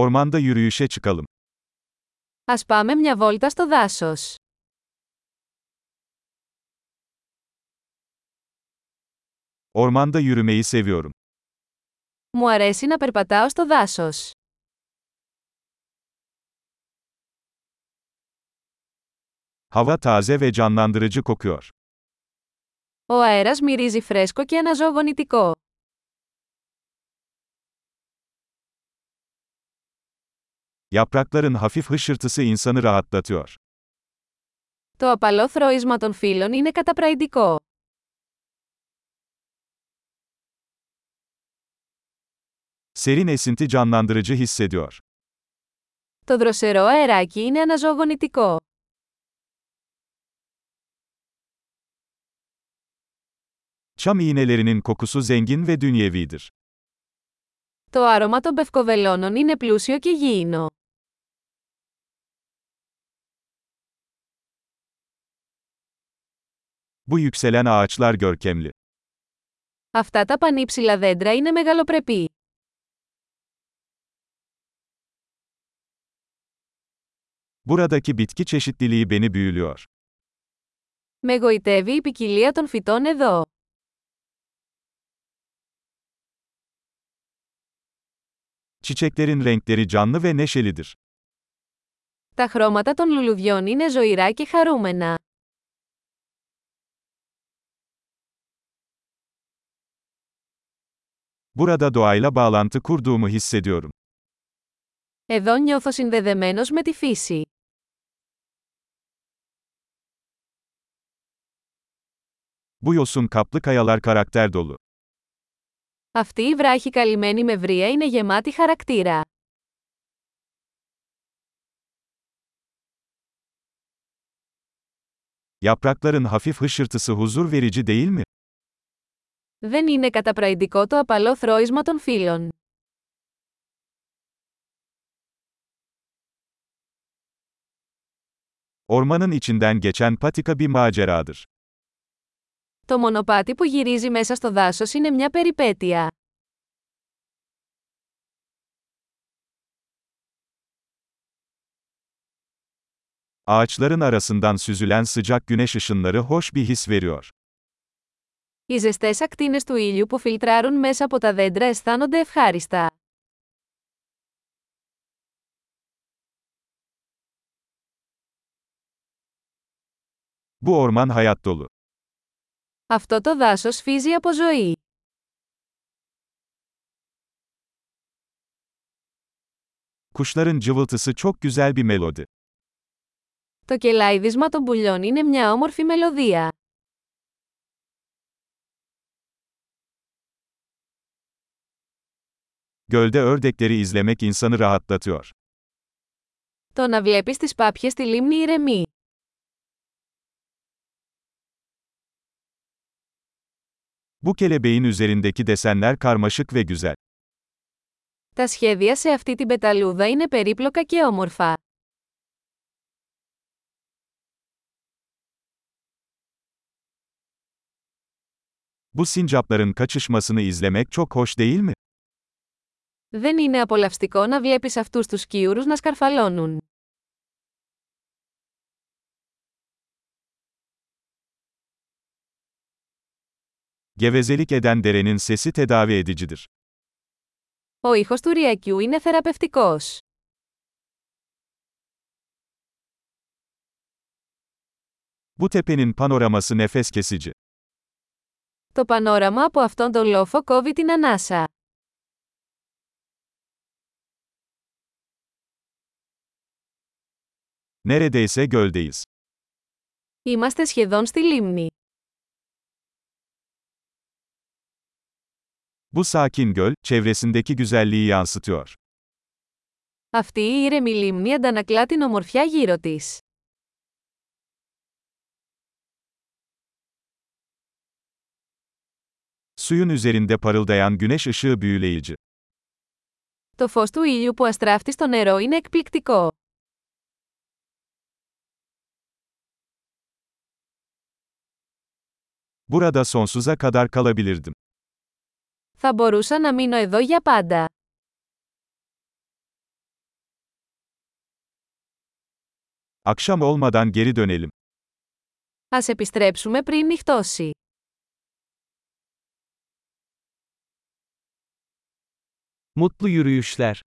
Ormanda yürüyüşe çıkalım. Ας πάμε μια βόλτα στο δάσος. Ormanda yürümeyi seviyorum. Μου αρέσει να περπατάω στο δάσος. Hava taze ve canlandırıcı kokuyor. Ο αέρας μυρίζει φρέσκο και αναζωογονητικό. Yaprakların hafif hışırtısı insanı rahatlatıyor. Το απαλό θροίσμα των φύλλων είναι καταπραϊντικό. Serin esinti canlandırıcı hissediyor. Το δροσερό αεράκι είναι αναζωογονητικό. Çam iğnelerinin kokusu zengin ve dünyevidir. Το άρωμα των πευκοβελώνων είναι πλούσιο και γήινο. Bu yükselen ağaçlar görkemli. Αυτά τα πανύψηλα δέντρα είναι μεγαλοπρεπή. Buradaki bitki çeşitliliği beni büyülüyor. Με γοητεύει η ποικιλία των φυτών εδώ. Çiçeklerin renkleri canlı ve neşelidir. Τα χρώματα των λουλουδιών είναι ζωηρά και χαρούμενα. Burada doğayla bağlantı kurduğumu hissediyorum. Εδώ νιώθω συνδεδεμένος με τη φύση. Bu yosun kaplı kayalar karakter dolu. Αυτή η βράχη καλυμμένη με βρία είναι γεμάτη χαρακτήρα. Yaprakların hafif hışırtısı huzur verici değil mi? Δεν είναι καταπραϊντικό το απαλό θρώισμα των φύλων. Ormanın içinden geçen patika bir maceradır. Το μονοπάτι που γυρίζει μέσα στο δάσος είναι μια περιπέτεια. Ağaçların arasından süzülen sıcak güneş ışınları hoş bir his veriyor. Οι ζεστές ακτίνες του ήλιου που φιλτράρουν μέσα από τα δέντρα αισθάνονται ευχάριστα. Bu orman hayat dolu. Αυτό το δάσος φύζει από ζωή. Kuşların cıvıltısı çok güzel bir melodi. Το κελάιδισμα των πουλιών είναι μια όμορφη μελωδία. Gölde ördekleri izlemek insanı rahatlatıyor. Το να βλέπεις τις πάπιες στη λίμνη ηρεμεί. Bu kelebeğin üzerindeki desenler karmaşık ve güzel. Τα σχέδια σε αυτή την πεταλούδα είναι περίπλοκα και όμορφα. Bu sincapların kaçışmasını izlemek çok hoş değil mi? Δεν είναι απολαυστικό να βλέπεις αυτούς τους σκιούρους να σκαρφαλώνουν. Gevezelik eden derenin sesi tedavi edicidir. Ο ήχος του ριακιού είναι θεραπευτικός. Bu tepenin panoraması nefes kesici. Το πανόραμα από αυτόν τον λόφο κόβει την ανάσα. Neredeyse göldeyiz. Είμαστε σχεδόν στη λίμνη. Bu sakin göl, çevresindeki güzelliği yansıtıyor. Αυτή η ήρεμη λίμνη αντανακλά την ομορφιά γύρω της. Suyun üzerinde parıldayan güneş ışığı büyüleyici. Το φως του ήλιου που αστράφτει στο νερό είναι εκπληκτικό. Burada sonsuza kadar kalabilirdim. Θα μπορούσα να μείνω εδώ για πάντα. Akşam olmadan geri dönelim. Ας επιστρέψουμε πριν νυχτώσει. Mutlu yürüyüşler.